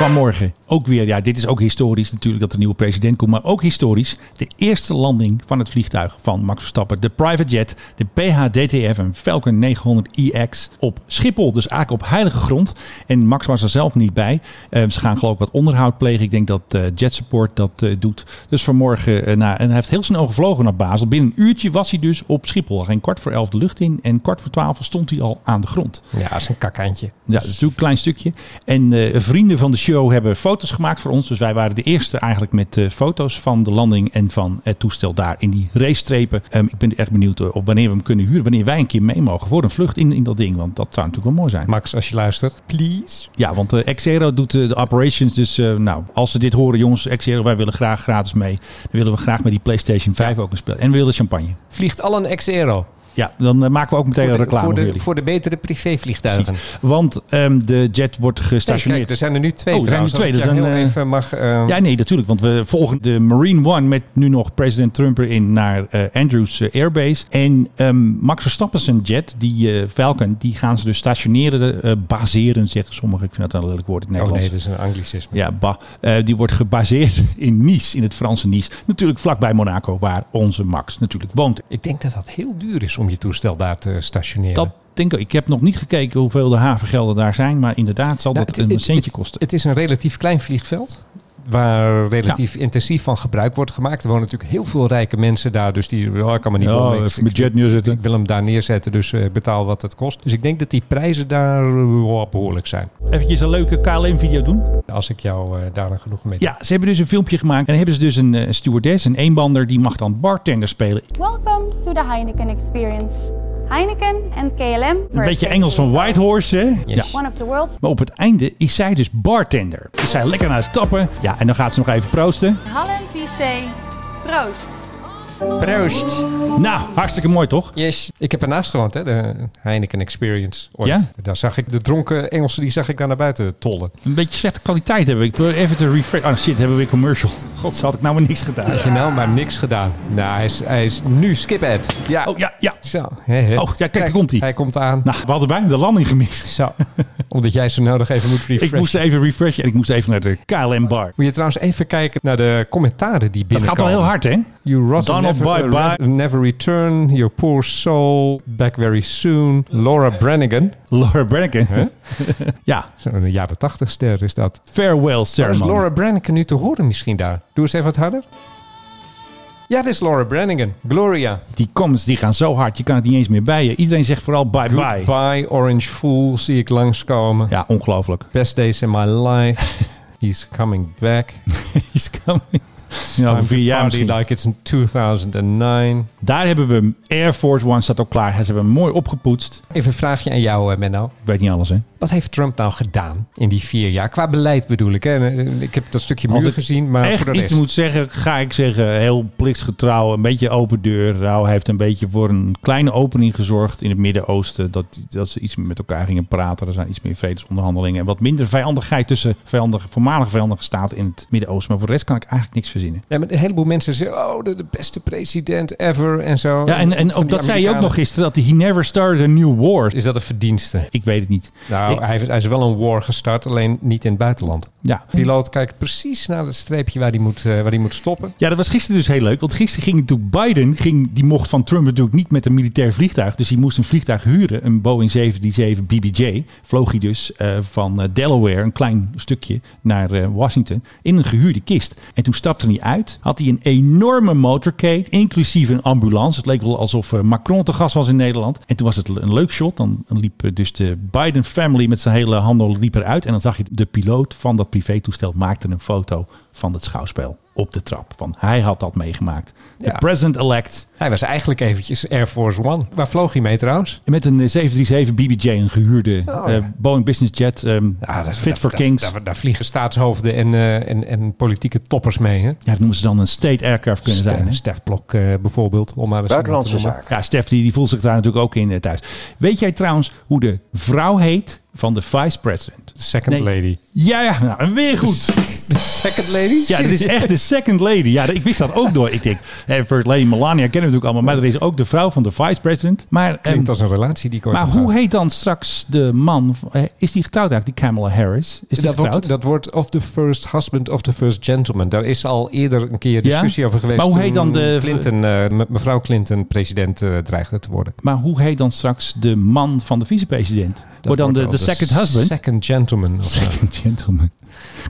S1: Vanmorgen ook weer. Ja, dit is ook historisch natuurlijk dat er een nieuwe president komt. Maar ook historisch. De eerste landing van het vliegtuig van Max Verstappen. De private jet, de PH-DTF en Falcon 900iX op Schiphol. Dus eigenlijk op heilige grond. En Max was er zelf niet bij. Eh, ze gaan geloof ik wat onderhoud plegen. Ik denk dat eh, Jet Support dat eh, doet. Dus vanmorgen. eh, nou, en hij heeft heel snel gevlogen naar Basel. Binnen een uurtje was hij dus op Schiphol. Geen kwart voor elf de lucht in. En kwart voor twaalf stond hij al aan de grond.
S2: Ja, dat is een kakantje.
S1: Ja, dat is natuurlijk een klein stukje. En eh, vrienden van de Show hebben foto's gemaakt voor ons. Dus wij waren de eerste eigenlijk met eh, foto's van de landing en van het toestel daar in die racestrepen. Ehm, ik ben echt benieuwd eh, op wanneer we hem kunnen huren. Wanneer wij een keer mee mogen voor een vlucht in, in dat ding. Want dat zou natuurlijk wel mooi zijn.
S2: Max, als je luistert, please.
S1: Ja, want eh, Xero doet eh, de operations. Dus eh, nou, als ze dit horen, jongens, Xero, wij willen graag gratis mee. Dan willen we graag met die PlayStation 5 ook een spel. En we willen champagne.
S2: Vliegt al een ex-euro.
S1: Ja, dan eh, maken we ook meteen
S2: Voor,
S1: een
S2: de-
S1: reclame
S2: voor,
S1: voor,
S2: de-
S1: jullie.
S2: voor de betere privévliegtuigen.
S1: Precies. Want ehm, de jet wordt
S2: Nee,
S1: gestationeerd.
S2: kijk, er zijn er nu twee
S1: Oh, er zijn er
S2: trouwens.
S1: twee,
S2: Als ik
S1: dus
S2: jou
S1: dan,
S2: heel
S1: eh,
S2: even mag... eh,
S1: Ja, nee, natuurlijk. Want we volgen de Marine One met nu nog president Trump erin naar eh, Andrews eh, Airbase. En ehm, Max Verstappen zijn jet, die eh, Falcon, die gaan ze dus stationeren, eh, baseren, zeggen sommigen. Ik vind dat een lelijk woord in het
S2: Oh
S1: Nederlands.
S2: nee, dat is een anglicisme.
S1: Ja, bah. Eh, die wordt gebaseerd in Nice, in het Franse Nice. Natuurlijk vlakbij Monaco, waar onze Max natuurlijk woont.
S2: Ik denk dat dat heel duur is om je toestel daar te stationeren. Nou,
S1: Dat denk ik. Ik heb nog niet gekeken hoeveel de havengelden daar zijn. Maar inderdaad zal
S2: Nou,
S1: dat
S2: het-
S1: een
S2: het-
S1: centje
S2: het-
S1: kosten.
S2: Het is een relatief klein vliegveld. Waar relatief intensief van gebruik wordt gemaakt. Er wonen natuurlijk heel veel rijke mensen daar. Dus die, oh, ik kan me niet
S1: Ja,
S2: bemoeien. Ik-
S1: even mijn
S2: ik-
S1: jet
S2: Ik
S1: neerzetten.
S2: wil hem daar neerzetten, dus eh, betaal wat het kost. Dus ik denk dat die prijzen daar eh, wel behoorlijk zijn.
S1: Even een leuke KLM-video doen.
S2: Als ik jou eh, daar een genoegen mee
S1: Ja, ze hebben dus een filmpje gemaakt. En dan hebben ze dus een eh, stewardess, een eenbander, die mag dan bartender spelen.
S6: Welcome to the Heineken Experience. Heineken and KLM.
S1: Een beetje Engels van Whitehorse, hè? Ja.
S6: One of the world's
S1: Maar op het einde is zij dus bartender. Is zij lekker aan het tappen. Ja, en dan gaat ze nog even proosten.
S6: Holland we say proost.
S2: Proost!
S1: Nou, hartstikke mooi toch?
S2: Yes. Ik heb ernaast gewoond, hè, de Heineken Experience. Ooit.
S1: Ja?
S2: Daar zag ik de dronken Engelsen, die zag ik daar naar buiten tollen.
S1: Een beetje slechte kwaliteit hebben. Ik probeer even te refresh. Oh shit, hebben we weer commercial. God, had ik nou maar niks gedaan.
S2: Had je nou maar niks gedaan. Nou, hij is, hij is nu skip ad. Ja.
S1: Oh ja, ja.
S2: Zo. hè, hè.
S1: Oh, ja, kijk, daar komt-ie.
S2: Hij komt aan.
S1: Nou, we hadden bijna de landing gemist.
S2: Zo. Omdat jij zo nodig even moet refreshen.
S1: Ik moest even refreshen en ik moest even naar de KLM bar.
S2: Moet je trouwens even kijken naar de commentaren die
S1: Dat
S2: binnenkomen.
S1: gaat wel heel hard, hè?
S2: You rot and
S1: Donald,
S2: never,
S1: bye,
S2: uh,
S1: bye.
S2: never return. Your poor soul. Back very soon. Laura Brannigan.
S1: Laura Brannigan. ja,
S2: Zo'n jaren tachtig ster is dat.
S1: farewell
S2: Is
S1: ceremony.
S2: Laura Brannigan nu te horen misschien daar? Doe eens even wat harder. Ja, dit is Laura Brannigan. Gloria.
S1: Die comments die gaan zo hard, je kan het niet eens meer bij je. Iedereen zegt vooral bye bye.
S2: Goodbye, Orange Fool. Zie ik langskomen.
S1: Ja, ongelooflijk.
S2: Best days in my life. He's coming back.
S1: He's coming. Ja, over
S2: Time to
S1: vier jaar
S2: party
S1: misschien.
S2: like it's in 2009.
S1: Daar hebben we hem. Air Force One staat al klaar. Ze hebben hem mooi opgepoetst.
S2: Even een vraagje aan jou, eh, Menno.
S1: Ik weet niet alles, hè?
S2: Wat heeft Trump nou gedaan in die vier jaar? Qua beleid bedoel ik. Hè? Eh, Ik heb dat stukje
S1: Als
S2: muur
S1: ik
S2: gezien, maar
S1: echt
S2: voor de
S1: iets
S2: rest.
S1: moet zeggen, ga ik zeggen, heel plichtsgetrouw, een beetje open deur. Nou, hij heeft een beetje voor een kleine opening gezorgd in het Midden-Oosten. Dat, dat ze iets meer met elkaar gingen praten. Er zijn iets meer vredesonderhandelingen. En wat minder vijandigheid tussen vijandige, voormalige vijandige staten in het Midden-Oosten. Maar voor de rest kan ik eigenlijk niks verzinnen.
S2: Ja, maar een heleboel mensen zeggen, oh, de, de beste president ever en zo.
S1: Ja, en,
S2: Van
S1: en
S2: die
S1: ook dat zei je ook
S2: Amerikanen.
S1: nog gisteren, dat hij he never started a new war.
S2: Is dat een verdienste?
S1: Ik weet het niet.
S2: Nou,
S1: Ik-
S2: hij, heeft- hij is wel een war gestart, alleen niet in het buitenland.
S1: ja.
S2: Piloot kijkt precies naar het streepje waar hij moet, eh, waar hij moet stoppen.
S1: Ja, dat was gisteren dus heel leuk. Want gisteren ging natuurlijk Biden, ging, die mocht van Trump natuurlijk niet met een militair vliegtuig. Dus hij moest een vliegtuig huren, een Boeing 737 BBJ. Vloog hij dus eh, van eh, Delaware, een klein stukje, naar eh, Washington. In een gehuurde kist. En toen stapte hij uit. Had hij een enorme motorcade, inclusief een ambulance. Het leek wel alsof eh, Macron te gast was in Nederland. En toen was het een leuk shot. Dan liep eh, dus de Biden family met zijn hele handel liep eruit. En dan zag je de piloot van dat privétoestel maakte een foto van het schouwspel op de trap. Want hij had dat meegemaakt. De
S2: Ja.
S1: president-elect
S2: Hij was eigenlijk eventjes Air Force One. Waar vloog hij mee trouwens?
S1: met een eh, 737 BBJ, een gehuurde
S2: Oh, ja.
S1: eh, Boeing Business Jet, ehm,
S2: Ja, dat-
S1: fit
S2: daar-
S1: for
S2: daar-
S1: kings.
S2: Daar, daar vliegen staatshoofden en, eh, en, en politieke toppers mee. Hè?
S1: ja, dat noemen ze dan een state aircraft kunnen zijn. hè?
S2: Stef Blok eh, bijvoorbeeld. Om maar eens
S10: Buitenlandse
S2: iemand te noemen.
S10: zaak.
S1: Ja, Stef die, die voelt zich daar natuurlijk ook in eh, thuis. Weet jij trouwens hoe de vrouw heet van de vice president?
S2: Second
S1: Nee.
S2: lady.
S1: Ja, ja, nou, en weer goed.
S2: De second lady?
S1: Ja, dit is echt de second lady. Ja, ik wist dat ook door. Ik denk, eh, first lady Melania kennen we natuurlijk allemaal. Maar er is ook de vrouw van de vice president. Maar, ehm,
S2: Klinkt als een relatie die ik ooit
S1: maar
S2: heb
S1: hoe
S2: gehad.
S1: heet dan straks de man? eh, Is die getrouwd eigenlijk, die Kamala Harris? Is die
S2: dat
S1: getrouwd?
S2: wordt, dat wordt of the first husband of the first gentleman. Daar is al eerder een keer discussie
S1: Ja?
S2: over geweest.
S1: Maar hoe heet dan
S2: toen
S1: de-
S2: Clinton, eh, me- mevrouw Clinton president eh, dreigde te worden.
S1: Maar hoe heet dan straks de man van de vicepresident?
S2: Dat
S1: Wordt dan de,
S2: wordt
S1: de
S2: al
S1: second husband?
S2: Second gentleman. of zo.
S1: Second gentleman.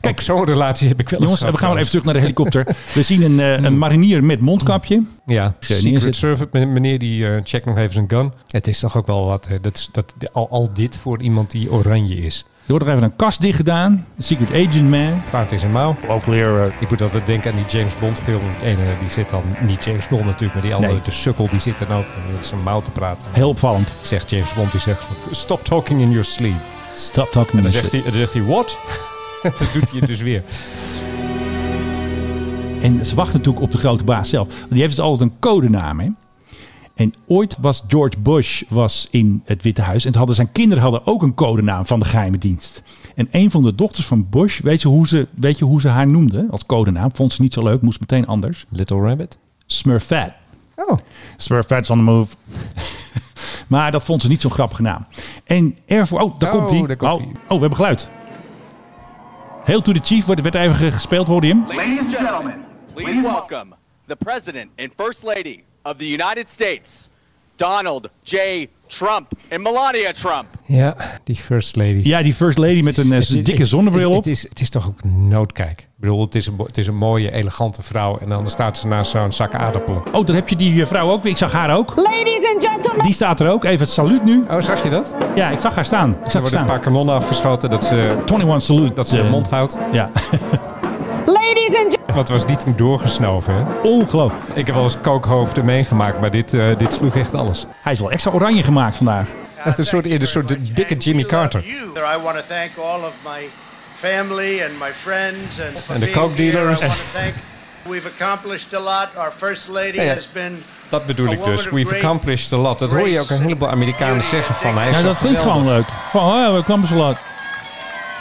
S2: Kijk, zo'n relatie heb ik wel eens
S1: Jongens, we gaan
S2: gehad
S1: maar even terug naar de helikopter. We zien een, eh, een marinier met mondkapje.
S2: Ja,
S1: neerzet.
S2: Secret Service men- meneer die eh checkt nog even zijn gun. Het is toch ook wel wat, hè? Dat, is- dat, al, al dit voor iemand die oranje is.
S1: wordt er even een kast dicht gedaan. Secret Agent Man.
S2: Paard in zijn mouw.
S1: Ook weer eh,
S2: Ik moet altijd denken aan die James Bond film. Die ene die zit dan, niet James Bond natuurlijk, maar die andere,
S1: Nee.
S2: de sukkel, die zit dan ook eh, met zijn mouw te praten.
S1: heel opvallend.
S2: Zegt James Bond, die zegt, stop talking in your sleep.
S1: Stop talking
S2: En dan
S1: Mr.
S2: zegt hij, dan zegt hij what? dat doet hij het dus weer.
S1: En ze wachten natuurlijk op de grote baas zelf. Want die heeft dus altijd een codenaam. Hè? En ooit was George Bush was in het Witte Huis. En toen hadden zijn kinderen hadden ook een codenaam van de geheime dienst. En een van de dochters van Bush, weet je hoe ze, weet je hoe ze haar noemde als codenaam? Vond ze niet zo leuk, moest meteen anders.
S2: Little Rabbit?
S1: Smurfette.
S2: Oh.
S1: Smurfette's on the move. maar dat vond ze niet zo'n grappige naam. En ervoor... Oh, daar
S2: Oh,
S1: komt hij.
S2: daar komt
S1: oh,
S2: ie.
S1: oh, we hebben geluid. Heel to the chief werd, werd even ge- gespeeld, hoorde je hem?
S4: Ladies and gentlemen, please welcome the President and First Lady of the United States, Donald J. Trump and Melania Trump.
S2: Ja, die first lady.
S1: Ja, die first lady met een eh,
S2: Het is-
S1: dikke
S2: het-
S1: zonnebril
S2: het-
S1: op.
S2: Het is, het is toch ook noodkijk. Ik bedoel, het is, een, mo- het is een mooie, elegante vrouw. En dan staat ze naast zo'n zak aardappelen.
S1: Oh, dan heb je die eh, vrouw ook. Ik zag haar ook.
S9: Ladies and gentlemen.
S1: Die staat er ook. Even het saluut nu.
S2: Oh, zag je dat? Er
S1: Ja, ik zag haar staan. Ik zag haar
S2: worden een
S1: staan.
S2: paar kanonnen afgeschoten dat ze,
S1: 21 saluut.
S2: dat ze de
S1: Eh,
S2: mond houdt.
S1: Ja,
S9: Ladies and
S2: Want het was niet toen doorgesnoven. Hè?
S1: ongelooflijk.
S2: Ik heb wel eens kookhoofden meegemaakt, maar dit, eh, dit sloeg echt alles.
S1: Hij is wel extra oranje gemaakt vandaag.
S2: Dat is een soort, een soort di- dikke Jimmy Carter.
S5: I want to thank all of my family and my friends and for
S2: En de
S5: being
S2: coke
S5: here.
S2: dealers.
S5: I want to thank. We've accomplished a lot. Our first lady
S2: Ja, ja.
S5: has been.
S2: Dat bedoel ik dus. We've accomplished a lot. Dat hoor je ook een heleboel Amerikanen zeggen van hij is
S1: Ja,
S2: zo
S1: dat klinkt
S2: geweldig.
S1: gewoon leuk. Gewoon, oh, we kwamen zo laat.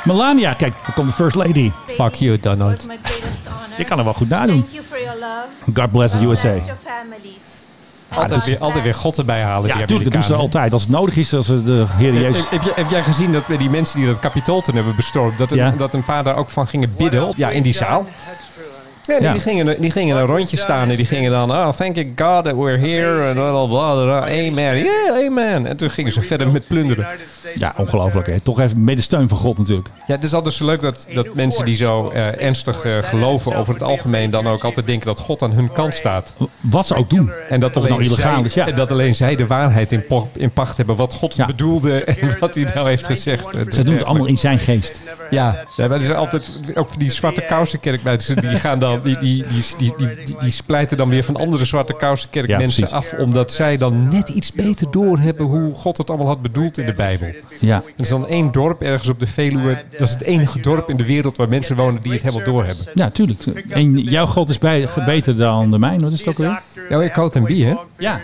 S1: Melania, kijk, daar komt de first lady.
S2: Fuck you, Donald.
S8: my greatest honor.
S1: Je kan er wel goed nadoen.
S8: you for your love.
S1: God bless the USA.
S8: families.
S2: Altijd weer, altijd weer God erbij halen,
S1: Ja,
S2: die
S1: natuurlijk, dat doen ze
S2: Amerikanen.
S1: altijd. Als het nodig is, als ze de Heer Jezus...
S2: Heb, heb, jij- heb jij gezien dat die mensen die dat kapitool toen hebben bestormd, dat een,
S1: Ja.
S2: dat een paar daar ook van gingen bidden? Ja, in die zaal.
S5: That's true, honey.
S2: Ja, die,
S1: Ja.
S2: die gingen, die gingen een rondje staan en die gingen dan, oh, thank you God that we're here, en bla bla bla, bla, amen, yeah, amen. En toen gingen ze verder met plunderen.
S5: United States
S1: Ja,
S5: military.
S1: ongelooflijk hè. Toch even met de steun van God natuurlijk.
S2: Ja, het is altijd zo leuk dat, dat mensen die zo eh, ernstig eh, geloven over het algemeen dan ook altijd denken dat God aan hun kant staat.
S1: Wat ze ook doen.
S2: En dat,
S1: Of het nou
S2: alleen
S1: illegaal
S2: zij,
S1: is, ja.
S2: en dat alleen zij de waarheid in, po- in pacht hebben. Wat God
S1: Ja.
S2: bedoelde en wat hij nou heeft gezegd. Het is
S1: Ze doen het
S2: echt-
S1: allemaal in zijn geest.
S2: Ja, ja, maar er zijn altijd ook die zwarte kousenkerk mensen. Die, gaan dan, die, die, die, die, die, die, die splijten dan weer van andere zwarte kousenkerk
S1: Ja,
S2: mensen
S1: precies.
S2: af. Omdat zij dan net iets beter doorhebben hoe God het allemaal had bedoeld in de Bijbel.
S1: Ja.
S2: Er is dan één dorp ergens op de Veluwe. Dat is het enige dorp in de wereld waar mensen wonen die het helemaal doorhebben.
S1: Ja, tuurlijk. En jouw God is bij, beter dan de mijne, wat is het ook alweer?
S2: Ja, ik houd hem bij, hè?
S1: Ja.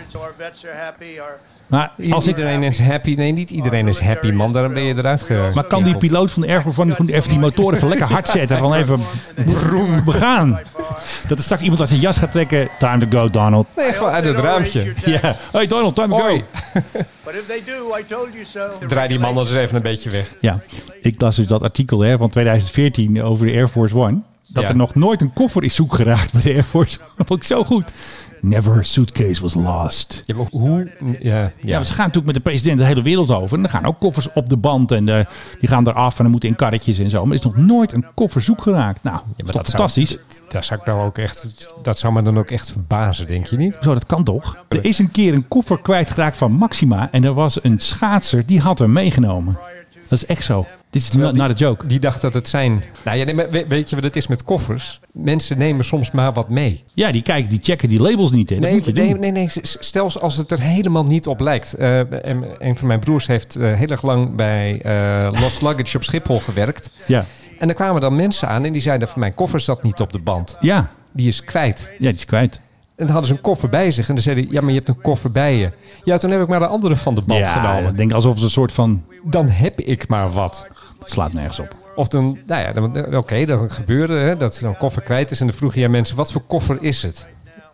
S1: Maar als ik...
S2: iedereen is happy. Nee, niet iedereen is happy, man. Daarom ben je eruit gegaan.
S1: Maar kan die piloot van de Air Force One gewoon even die motoren even lekker hard zetten? Gewoon even broem, we gaan. Dat er straks iemand uit zijn jas gaat trekken. Time to go, Donald.
S2: Nee, gewoon uit het raampje.
S1: Ja. Hey Donald, time to
S2: Hoi.
S1: go.
S2: Draai die man dan eens even een beetje weg.
S1: Ja, ik las dus dat artikel hè, van 2014 over de Air Force One. Dat
S2: Ja.
S1: er nog nooit een koffer is zoek geraakt bij de Air Force One. Dat vond ik zo goed. Never a suitcase was lost.
S2: Ja, maar hoe... Ja,
S1: Ja,
S2: ja.
S1: want ze gaan natuurlijk met de president de hele wereld over. En dan gaan ook koffers op de band. En eh, die gaan eraf en dan moeten in karretjes en zo. Maar er is nog nooit een koffer zoek geraakt. Nou, dat is toch fantastisch?
S2: Zou, dat- daar zou ik nou ook echt, dat zou me dan ook echt verbazen, denk je niet?
S1: Zo, dat kan toch? Er is een keer een koffer kwijtgeraakt van Maxima. En er was een schaatser die had hem meegenomen. Dat is echt zo. Dit is not, not a joke.
S2: Die dacht dat het zijn. Nou ja, nee, maar we- weet je wat het is met koffers? Mensen nemen soms maar wat mee.
S1: Ja, die kijken, die checken die labels niet. Hè. Dat
S2: Nee,
S1: moet je
S2: nee,
S1: doen.
S2: nee, nee. s- s- Stel als het er helemaal niet op lijkt. Eh, en, een van mijn broers heeft eh, heel erg lang bij eh Lost Luggage op Schiphol gewerkt.
S1: Ja.
S2: En er kwamen dan mensen aan en die zeiden van mijn koffer zat niet op de band.
S1: Ja.
S2: Die is kwijt.
S1: ja, die is kwijt.
S2: En dan hadden ze een koffer bij zich. En dan zeiden ja, maar je hebt een koffer bij je. Ja, toen heb ik maar de andere van de band
S1: ja,
S2: genomen.
S1: ik denk alsof het een soort van...
S2: Dan heb ik maar wat.
S1: Het slaat nergens op.
S2: Of dan, nou ja, dan- oké, dat gebeurde hè, dat zo'n koffer kwijt is. En dan vroeg je aan mensen, wat voor koffer is het?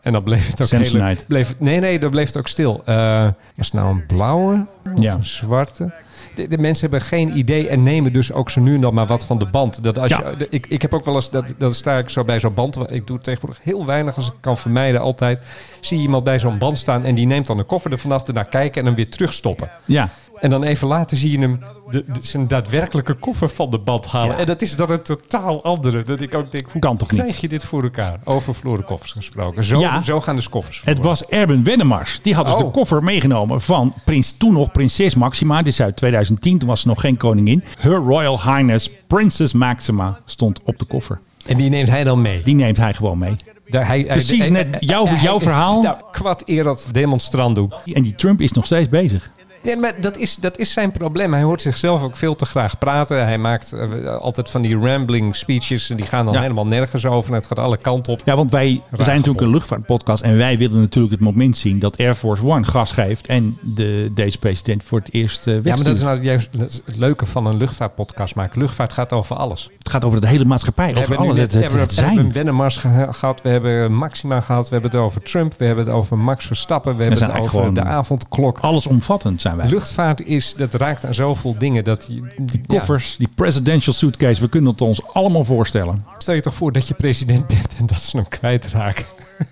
S2: En dan bleef het ook
S1: Samsonite.
S2: hele- bleef, Nee, nee, dan bleef het ook stil. Eh, was het nou een blauwe of
S1: Ja.
S2: een zwarte? De, de mensen hebben geen idee en nemen dus ook zo nu en dan maar wat van de band. Dat als
S1: Ja.
S2: je, de- ik, ik heb ook wel eens, dat, dat sta ik zo bij zo'n band. Ik doe tegenwoordig heel weinig als ik kan vermijden altijd. Zie je iemand bij zo'n band staan en die neemt dan een koffer er vanaf, daarna kijken en hem weer terugstoppen.
S1: Ja.
S2: En dan even later zie je hem de, de- zijn daadwerkelijke koffer van de band halen. En dat is dan een totaal andere. Dat ik ook denk, hoe
S1: Kan toch niet?
S2: krijg je dit voor elkaar? Over verloren koffers gesproken. Zo,
S1: Ja.
S2: zo gaan dus koffers
S1: Het
S2: verloren.
S1: was Erben Wennemars. Die had dus
S2: Oh.
S1: de koffer meegenomen van prins, toen nog prinses Maxima. Dit is uit 2010, toen was ze nog geen koningin. Her Royal Highness Princess Maxima stond op de koffer.
S2: En die neemt hij dan mee.
S1: Die neemt hij gewoon mee.
S2: Daar- hij- hij-
S1: Precies
S2: hij-
S1: net
S2: hij-
S1: jouw-
S2: hij-
S1: jouw
S2: hij-
S1: verhaal.
S2: Nou, kwad eer dat demonstrant doet.
S1: En die Trump is nog steeds bezig.
S2: Nee, maar dat is, dat is zijn probleem. Hij hoort zichzelf ook veel te graag praten. Hij maakt eh, altijd van die rambling speeches. En die gaan dan
S1: Ja.
S2: helemaal nergens over. En het gaat alle kanten op.
S1: Ja, want wij zijn natuurlijk een luchtvaartpodcast. En wij willen natuurlijk het moment zien dat Air Force One gas geeft. En de, deze president voor het eerst eh
S2: Ja, maar dat
S1: wegstuurt.
S2: is nou juist dat is het leuke van een luchtvaartpodcast maken. Luchtvaart gaat over alles.
S1: Het gaat over de hele maatschappij. Over alles. Het, het, het
S2: We hebben
S1: zijn.
S2: Wennemars geha- gehad, we hebben Maxima gehad, we hebben het over Trump, we hebben het over Max Verstappen, we hebben
S1: zijn
S2: het over
S1: eigenlijk
S2: de
S1: gewoon-
S2: avondklok.
S1: Allesomvattend zijn wij.
S2: Luchtvaart is, dat raakt aan zoveel dingen. Dat je,
S1: Die koffers, die presidential suitcase. We kunnen het ons allemaal voorstellen.
S2: Ja, stel je toch voor dat je president bent en dat ze hem kwijtraken.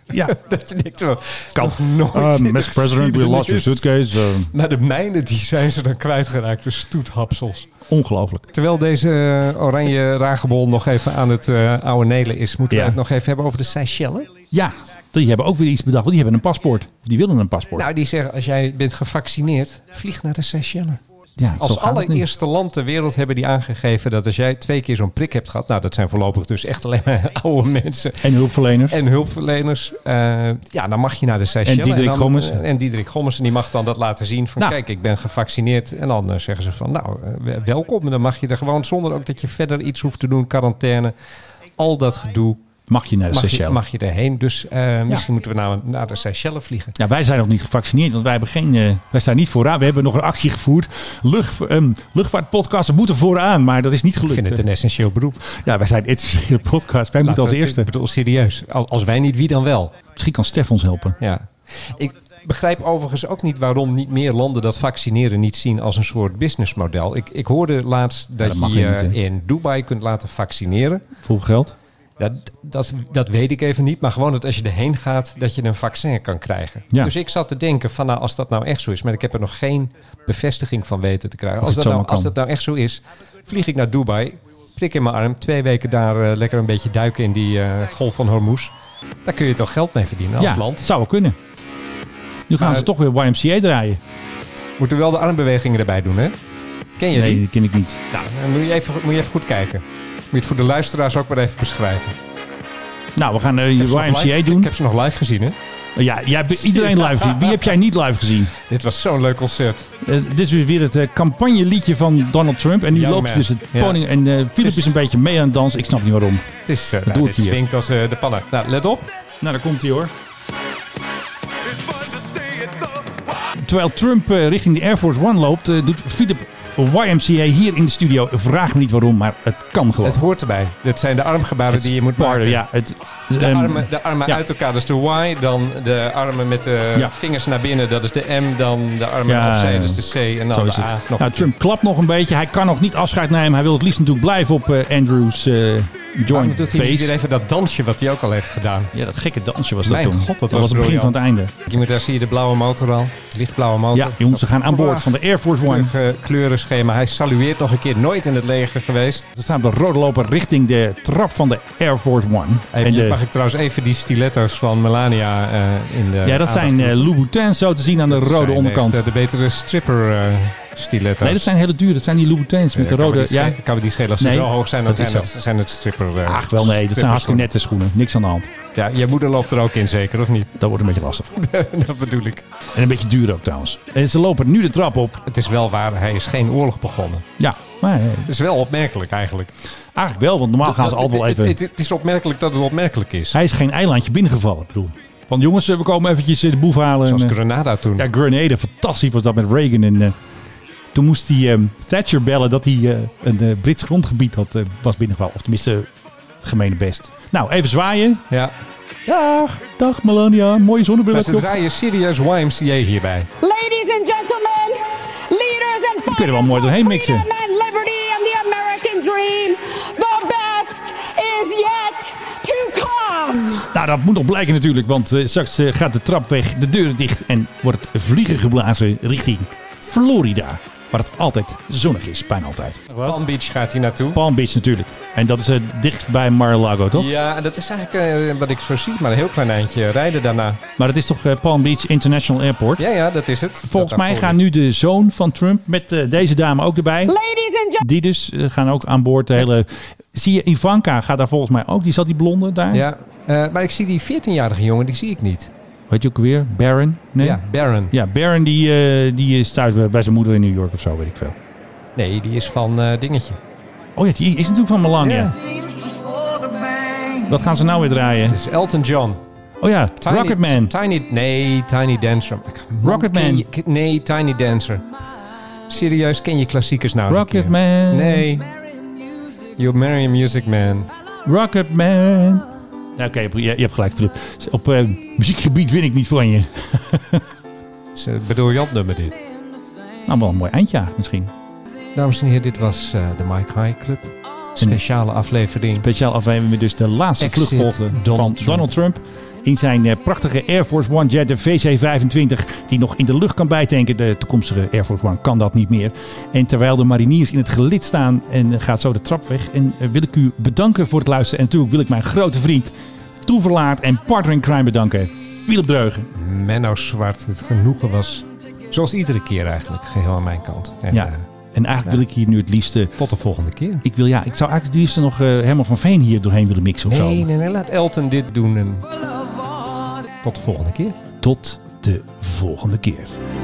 S1: Ja,
S2: dat je denkt wel, kan nooit.
S1: Eh, Ah,
S2: in de geschiedenis.
S1: suitcase.
S2: Maar de mijnen die zijn ze dan kwijtgeraakt, de stoethapsels.
S1: Eh, Ongelooflijk.
S2: Terwijl deze eh, oranje ragebol nog even aan het eh oude nelen is, moeten
S1: Ja.
S2: we het nog even hebben over de Seychellen.
S1: Ja, die hebben ook weer iets bedacht. Want die hebben een paspoort. Of die willen een paspoort.
S2: Nou, die zeggen als jij bent gevaccineerd, vlieg naar de Seychellen.
S1: ja, zo
S2: Als
S1: gaat het nu.
S2: allereerste land ter wereld hebben die aangegeven dat als jij twee keer zo'n prik hebt gehad, nou dat zijn voorlopig dus echt alleen maar oude mensen
S1: En hulpverleners.
S2: en hulpverleners, eh, ja dan mag je naar de Seychellen.
S1: Diederik
S2: dan- eh,
S1: Gommers.
S2: En Diederik Gommers, en die mag dan dat laten zien van
S1: Nou.
S2: kijk ik ben gevaccineerd. En dan eh, zeggen ze van nou eh, welkom en dan mag je er gewoon zonder ook dat je verder iets hoeft te doen, quarantaine, al dat gedoe.
S1: Mag je naar de
S2: Mag je,
S1: Seychelles?
S2: mag je erheen. Dus eh, misschien moeten we nou naar de Seychellen vliegen.
S1: Ja, wij zijn nog niet gevaccineerd, want wij, hebben geen, eh, wij staan niet vooraan. We hebben nog een actie gevoerd. Lucht, ehm, luchtvaartpodcasten moeten vooraan, maar dat is niet
S2: Ik
S1: gelukt.
S2: vind het een essentieel beroep.
S1: Ja, wij zijn een essentiële podcast. Wij moeten als
S2: Laten we-
S1: eerste.
S2: Ik bedoel, serieus. Al- Als wij niet, wie dan wel?
S1: Misschien kan Stef ons helpen.
S2: Ja. Ik begrijp overigens ook niet waarom niet meer landen dat vaccineren niet zien als een soort businessmodel. Ik, ik hoorde laatst dat,
S1: dat mag
S2: je
S1: je
S2: je
S1: niet, hè?
S2: in Dubai kunt laten vaccineren.
S1: Vol geld.
S2: Dat, dat, dat weet ik even niet, maar gewoon dat als je erheen gaat, dat je een vaccin kan krijgen.
S1: Ja.
S2: Dus ik zat te denken van nou, als dat nou echt zo is, maar ik heb er nog geen bevestiging van weten te krijgen.
S1: Of
S2: Als
S1: het
S2: dat, nou,
S1: zomaar
S2: als
S1: kan.
S2: dat nou echt zo is, vlieg ik naar Dubai, prik in mijn arm, twee weken daar eh, lekker een beetje duiken in die eh, golf van Hormuz. Daar kun je toch geld mee verdienen als
S1: ja,
S2: land.
S1: zou wel kunnen. Nu gaan
S2: Maar- eh,
S1: ze toch weer YMCA draaien.
S2: Moeten wel de armbewegingen erbij doen, hè? Ken je
S1: Nee,
S2: die?
S1: dat ken ik niet.
S2: Nou, dan moet je, even, moet je even goed kijken. Moet je het voor de luisteraars ook maar even beschrijven. Ik
S1: Nou, we gaan eh,
S2: heb ze nog
S1: YMCA
S2: live- Ik
S1: doen.
S2: heb ze nog live gezien, hè?
S1: Ja, jij hebt iedereen live gezien. Wie heb jij niet live gezien?
S2: Dit was zo'n leuk concert.
S1: Eh, dit is weer het campagne campagneliedje van Donald Trump. En nu
S2: Young
S1: loopt hij
S2: man.
S1: dus het
S2: Ja.
S1: podium. En eh Philip
S2: is-
S1: is een beetje mee aan het dansen. Ik snap niet waarom.
S2: Het is, eh,
S1: doe
S2: nou,
S1: ik
S2: dit
S1: hier.
S2: swingt als eh, de pannen. Nou, let op.
S1: Nou, daar komt hij hoor. Terwijl Trump eh, richting de Air Force One loopt, eh, doet Philip YMCA hier in de studio. Vraag me niet waarom, maar het kan gewoon.
S2: Het hoort erbij. Dit zijn de armgebaren
S1: Het
S2: die je moet
S1: pardon,
S2: maken.
S1: Ja, het,
S2: De
S1: ehm,
S2: armen, de armen
S1: ja.
S2: uit elkaar, dat is de Y. Dan de armen met de
S1: Ja.
S2: vingers naar binnen, dat is de M. Dan de armen
S1: Ja,
S2: opzij,
S1: ja.
S2: dat is de C. En dan
S1: Zo
S2: de
S1: is
S2: A.
S1: het.
S2: Oh, ah, Nog
S1: Nou,
S2: een keer.
S1: Trump klapt nog een beetje. Hij kan nog niet afscheid nemen. Hij wil het liefst natuurlijk blijven op eh, Andrews eh,
S2: Waarom
S1: joint
S2: doet hij niet weer
S1: base.
S2: even dat dansje wat hij ook al heeft gedaan?
S1: Ja, dat gekke dansje was dat
S2: Mijn
S1: toen.
S2: god, dat was
S1: was het begin van
S2: briljant.
S1: het einde.
S2: Je moet, daar zie je de blauwe motor al. Lichtblauwe motor.
S1: Ja, jongens, ze gaan aan boord van de Air Force One.
S2: Prachtig, eh, kleurenschema. Hij salueert nog een keer. Nooit in het leger geweest.
S1: Ze staan op de rode loper richting de trap van de Air Force One.
S2: Hey,
S1: en de,
S2: Mag ik trouwens even die stiletto's van Melania eh, in de
S1: ja, dat
S2: aandacht
S1: zijn
S2: doen?
S1: eh Louboutins zo te zien aan de
S2: Dat
S1: rode
S2: zijn
S1: onderkant.
S2: echt, eh, de betere stripper eh stiletto's.
S1: nee, dat zijn hele duur. Dat zijn die Louboutins met de rode...
S2: Ja,
S1: Ja,
S2: ik kan me die schelen. Als ze
S1: Nee,
S2: zo hoog zijn, dan
S1: dat
S2: zijn,
S1: is
S2: het, zijn het stripper. eh,
S1: ach wel nee, dat zijn hartstikke nette schoenen. Niks aan de hand.
S2: Ja, je moeder loopt er ook in, zeker, of niet?
S1: Dat wordt een beetje lastig.
S2: dat bedoel ik.
S1: En een beetje duur ook trouwens. En ze lopen nu de trap op.
S2: Het is wel waar, hij is geen oorlog begonnen.
S1: Ja, maar eh,
S2: Dat is wel opmerkelijk, eigenlijk.
S1: eigenlijk wel, want normaal gaan ze
S2: Dat-
S1: altijd wel
S2: het-
S1: even...
S2: Het, het is opmerkelijk dat het opmerkelijk is.
S1: Hij is geen eilandje binnengevallen, ik bedoel. Van jongens, eh, we komen eventjes eh, de boef halen.
S2: Zoals
S1: en, eh,
S2: Grenada toen.
S1: Ja, Grenada, fantastisch was dat met Reagan. En eh, toen moest hij ehm, Thatcher bellen dat hij eh, een eh, Brits grondgebied had, eh, was binnengevallen. Of tenminste, eh, gemene best. Nou, even zwaaien.
S2: Ja. Dag.
S1: Dag Melania, mooie zonnebril.
S2: Maar
S1: heb
S2: ze
S1: je op.
S2: draaien serieus YMCA hierbij.
S6: Ladies and gentlemen, leaders
S1: kunnen
S6: and
S1: we er wel mooi doorheen mixen.
S6: freedom and liberty and the American dream. The best is yet to come.
S1: Nou, dat moet nog blijken natuurlijk, want eh, straks eh, gaat de trap weg, de deuren dicht en wordt het vliegen geblazen richting Florida. waar het altijd zonnig is, bijna altijd.
S2: Palm Beach gaat hij naartoe.
S1: Palm Beach natuurlijk. En dat is eh, dicht bij Mar-a-Lago, toch?
S2: Ja, en dat is eigenlijk eh, wat ik zo zie, maar een heel klein eindje rijden daarna.
S1: Maar dat is toch eh, Palm Beach International Airport?
S2: Ja, ja, dat is het.
S1: Volgens
S2: Dat
S1: mij
S2: daarvoor
S1: gaan nu de zoon van Trump met eh, deze dame ook erbij.
S6: Ladies and gentlemen,
S1: Die dus eh, gaan ook aan boord de hele... Zie je, Ivanka gaat daar volgens mij ook. Die zat die blonde daar.
S2: Ja, eh, maar ik zie die 14-jarige jongen, die zie ik niet.
S1: Weet je ook weer? Baron? Nee?
S2: Ja, Baron.
S1: Ja, Baron die, eh, die is thuis bij, bij zijn moeder in New York of zo, weet ik veel.
S2: Nee, die is van eh, dingetje.
S1: Oh ja, die is natuurlijk van Melania.
S2: Ja.
S1: Wat gaan ze nou weer draaien?
S2: Dat is Elton John.
S1: Oh ja,
S2: Tiny-
S1: Rocketman.
S2: Tiny, nee, Tiny Dancer. Man,
S1: Rocketman.
S2: ken je- ken- nee, Tiny Dancer. Serieus, ken je klassiekers nou? eens een keer?
S1: Rocketman.
S2: Nee. You Marry a Music Man.
S1: Rocketman. Nou, Oké, je, je hebt gelijk, Filip. Op eh, muziekgebied win ik niet van je.
S2: Is eh, een briljant nummer dit.
S1: Nou, wel een mooi eindjaar misschien.
S2: Dames en heren, dit was eh, de Mike High Club. Speciale aflevering.
S1: Speciaal aflevering met dus de laatste
S2: Exit
S1: vluchtholte van
S2: Donald Trump.
S1: Donald Trump. In zijn eh, prachtige Air Force One jet, de VC-25, die nog in de lucht kan bijtanken. De toekomstige Air Force One kan dat niet meer. En terwijl de mariniers in het gelid staan en eh, gaat zo de trap weg. En eh, wil ik u bedanken voor het luisteren. En natuurlijk wil ik mijn grote vriend, toeverlaat en partner in crime bedanken. Philip Dreugen.
S2: Menno Zwart, het genoegen was zoals iedere keer eigenlijk. Geheel aan mijn kant. En,
S1: Ja.
S2: eh,
S1: En eigenlijk wil ik hier nu het liefste...
S2: tot de volgende keer.
S1: Ik, wil, ja, ik zou eigenlijk het liefste nog eh Herman van Veen hier doorheen willen mixen of zo.
S2: Nee, nee, nee, laat Elton dit doen. En... Tot de volgende keer.
S1: Tot de volgende keer.